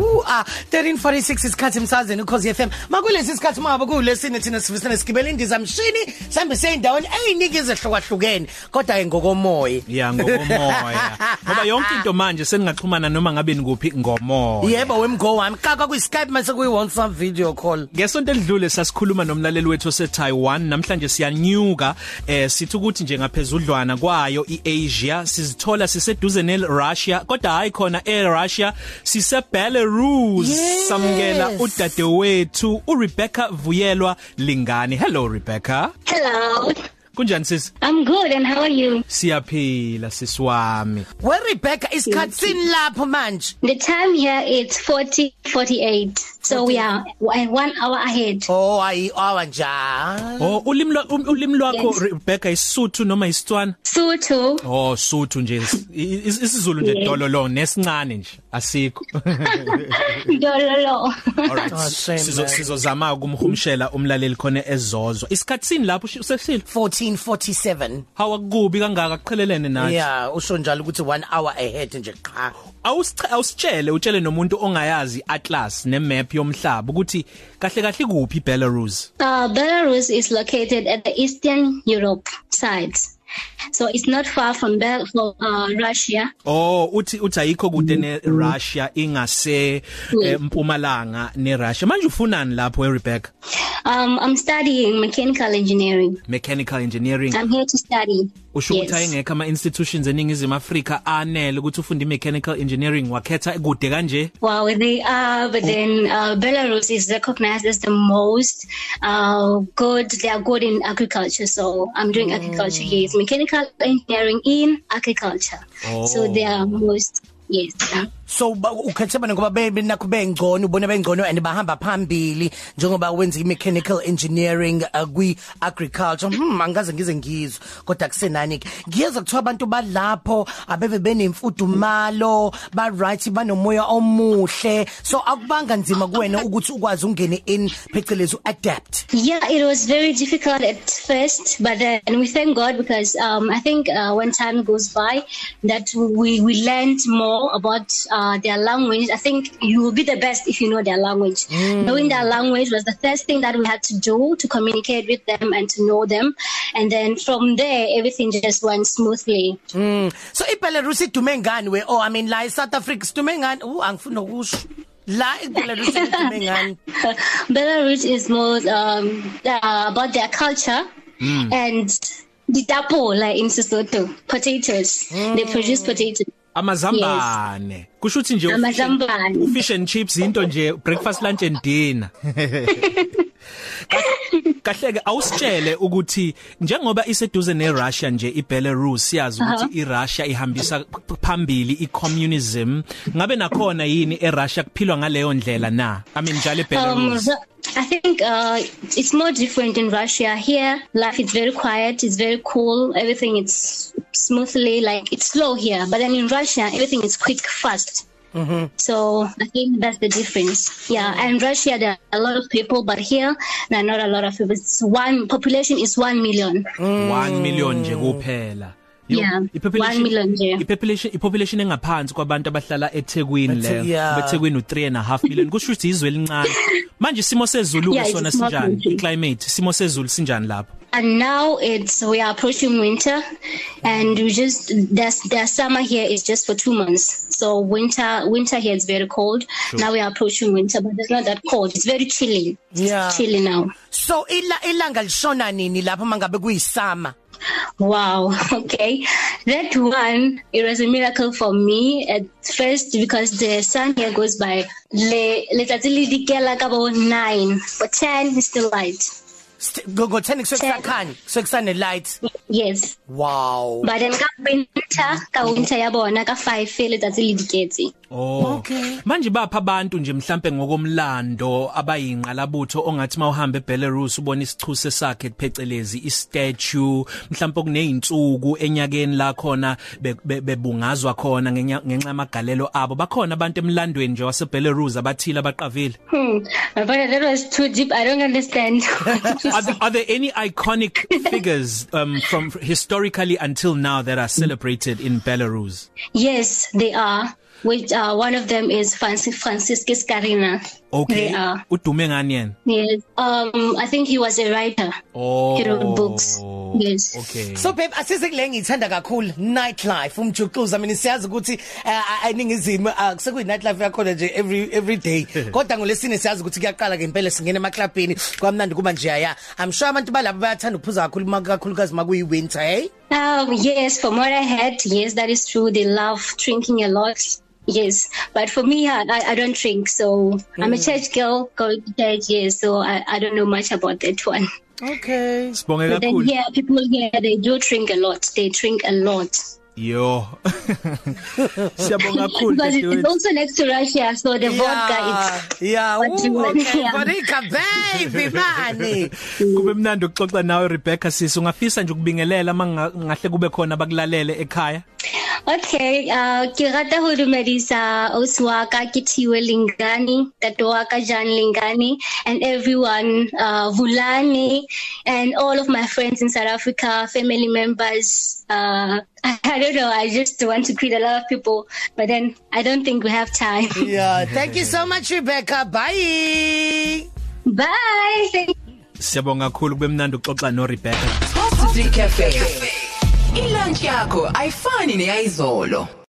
Uwa 1346 isikhathi emsazweni ukhosi FM. Makulesi sikhathi mabe kulesine thina sivisene sigibela indiza mshini sambe seyindaweni eyinika izehlukahlukene kodwa ke ngokomoya. ya ngokomoya ngoba yonke into manje sengingaxhumana noma ngabe nikuphi ngomoya Yebo wemgo wami kaka ku Skype mase kuyi WhatsApp video call. Ngesonto elidlule sasikhuluma nomlaleli wethu oseTaiwan namhlanje siyanyuka eh sithi ukuthi nje ngaphezudlwana kwayo iAsia sizithola siseduze neRussia kodwa hayi khona eRussia siseBelarus Yes. samukela udadewethu uRebecca Vuyelwa Lingani hello Rebecca Hello. kunjani sis I'm good and how are you? siyaphila siswami We Rebecca isikhatsini lapho manje. The time here is 40 48. So we are w- 1 hour ahead. Oh ayi awa nja. oh ulimi lwa- um- ulimi lwakho Yes. Rebecca isuthu noma isitswana So too. Oh suthu nje is- is- isiZulu nje Yes. dololo nesincane nje asikho. Dololo. Alright. Oh, shame, Sizo man. sizozama ukumhumshela umlaleli khona ezozwa. Isikhatsini lapho ushi- usefile. 1447. Hawakubi kangaka qhelelene nathi. Yeah, usho njalo ukuthi 1 hour ahead nje qha. Awusicha- Awusitshele utshele nomuntu ongayazi atlas nemap yomhlaba ukuthi kahle kahle kuphi Belarus. Uh, Belarus is located at the Eastern Europe side. So it's not far from, Bel- from uh, Russia. Oh uthi uthi ayikho kude neRussia ingase eh, Yes. Mpumalanga neRussia. Manje ufunani lapho eRebecca? Um, I'm studying mechanical engineering. Mechanical engineering. I'm here to study. usho ukuthi Yes. ayengekho ama institutions eningizimu Afrika anele ukuthi ufunde mechanical engineering wakhetha kude kanje Wow, they are, but then uh, Belarus is recognized as the most uh, good. They are good in agriculture, so I'm doing agriculture here. It's mechanical engineering in agriculture, so they are most yes. so ba- ukhethe bani ngoba bebe nakho bengcono ubone bengcono and bahamba phambili njengoba wenza i-mechanical engineering uh, kwi-agriculture hmm, angikaze ngize ngizwe kodwa kusenani-ke ngiyeza kuthiwa abantu balapho abeve benemfudumalo ba-right banomoya omuhle so akubanga nzima kuwena ukuthi ukwazi ungene in phecelezi u-adapt Yeah, it was very difficult at first, but then we thank God because um, I think uh, when time goes by, that we we learned more about uh, their language. I think you will be the best if you know their language. Knowing their language was the first thing that we had to do to communicate with them and to know them, and then from there everything just went smoothly. Hmm. so ibelarus idume ngani we oh i mean la i-south africa sidume ngani u angifuni nokusho la ibelarus idume ngani Belarus is more um, uh, about their culture and the dapo, like in Sesotho, potatoes. They produce potatoes. amazambane kusho ukuthi nje u- Amazambane. fish and chips into nje breakfast lunch and dinner kahle ke awusitshele ukuthi njengoba iseduze neRussia nje iBelarus siyazi Uh-huh. ukuthi iRussia ihambisa p- phambili icommunism ngabe nakhona yini eRussia kuphilwa ngaleyo ndlela na i mean njalo Um, eBelarus Ru- I think uh, it's more different in Russia. Here, life is very quiet. It's very cool. Everything is smoothly. Like it's slow here, but then in Russia, everything is quick, fast. So I think that's the difference. Yeah, and Russia there are a lot of people, but here there are not a lot of people. It's one population is one million. 1 million nje kuphela Yo, Mm. Yeah, i-population- 1 million nje. i-population i-population engaphansi kwabantu abahlala eThekwini Ethe- le yeah. beThekwini u3 and a half million kusho ukuthi izwe elincane manje isimo sezulu Yeah, it's sona a small sinjani country. iclimate isimo sezulu sinjani lapho And now it's we are approaching winter, and we just there's their summer here is just for two months. So winter winter here is very cold. Now we are approaching winter, but it's not that cold. It's very chilly. Yeah. It's chilly now. So ila ilanga lishona nini lapho mangabe kuyisama? Wow. Okay. That one it was a miracle for me at first because the sun here goes by le letsatsi le dikela ka bo nine for ten is still light. St- Go go 10 kusekusakhani, sekusane light. Yes. Wow. But then ka winter ka winter ya bona ka five letsatsi le diketse. Oh. Okay. Manje bapha abantu nje mhlambe ngokomlando abayinqalabutho ongathi mawuhamba eBelarus ubona isichuse sakhe kuphecelezi istatue mhlambe kuneyinsuku enyakeni la khona be- be- bebungazwa khona ngenya- ngenxa yamagalelo abo bakhona abantu emlandweni nje waseBelarus abathile abaqavile Hmm. But that was too deep. I don't understand. are, there- are there any iconic figures um from historically until now that are celebrated in Belarus yes, they are. which uh, one of them is Francis Franciscus Carina. Okay. They are. Udume ngani yena? Yes. Um, I think he was a writer. Oh. He wrote books. Yes. Okay. So babe asize kule ngiyithanda kakhulu nightlife umjuquza mina siyazi ukuthi eh, aningizimu akusekwi nightlife yakho eh, nje every every day kodwa ngolesine siyazi ukuthi kuyaqala ngempela singena emaclubini kwamnandi kuba nje aya I'm sure abantu balabo bayathanda ukuphuza kakhulu uma- kakhulukazi makuyi winter hey Um, yes, from what I heard, yes, that is true. They love drinking a lot. Yes, but for me, I, I I don't drink, so I'm a Hmm. church girl going to church. Yes, so I, I don't know much about that one. Okay Sibonge But then, kakhulu. yeah, people here they do drink a lot. They drink a lot. Yo. Siyabonga kakhulu. because it is dadewethu. also next to Russia, so the vodka is. Yeah ooh, What do you want? okay Yeah. Monica baby mani Kube mnandi ukuxoxa nawe Rebecca sisi ungafisa nje ukubingelela mangahle kube khona bakulalele ekhaya. Okay, uh, ke rata ho dumedisa ausi wa ka ke Thiwe Lingani, tate wa ka Jan Lingani, and everyone, uh, Vulani, and all of my friends in South Africa, family members. Uh, I don't know, I just want to greet a lot of people, but then I don't think we have time. Yeah thank you so much Rebecca bye Bye! Thank Siyabonga kakhulu kube mnandi ukuxoxa no Rebecca. Positive Cafe. Ilunch yakho ayifani neyizolo.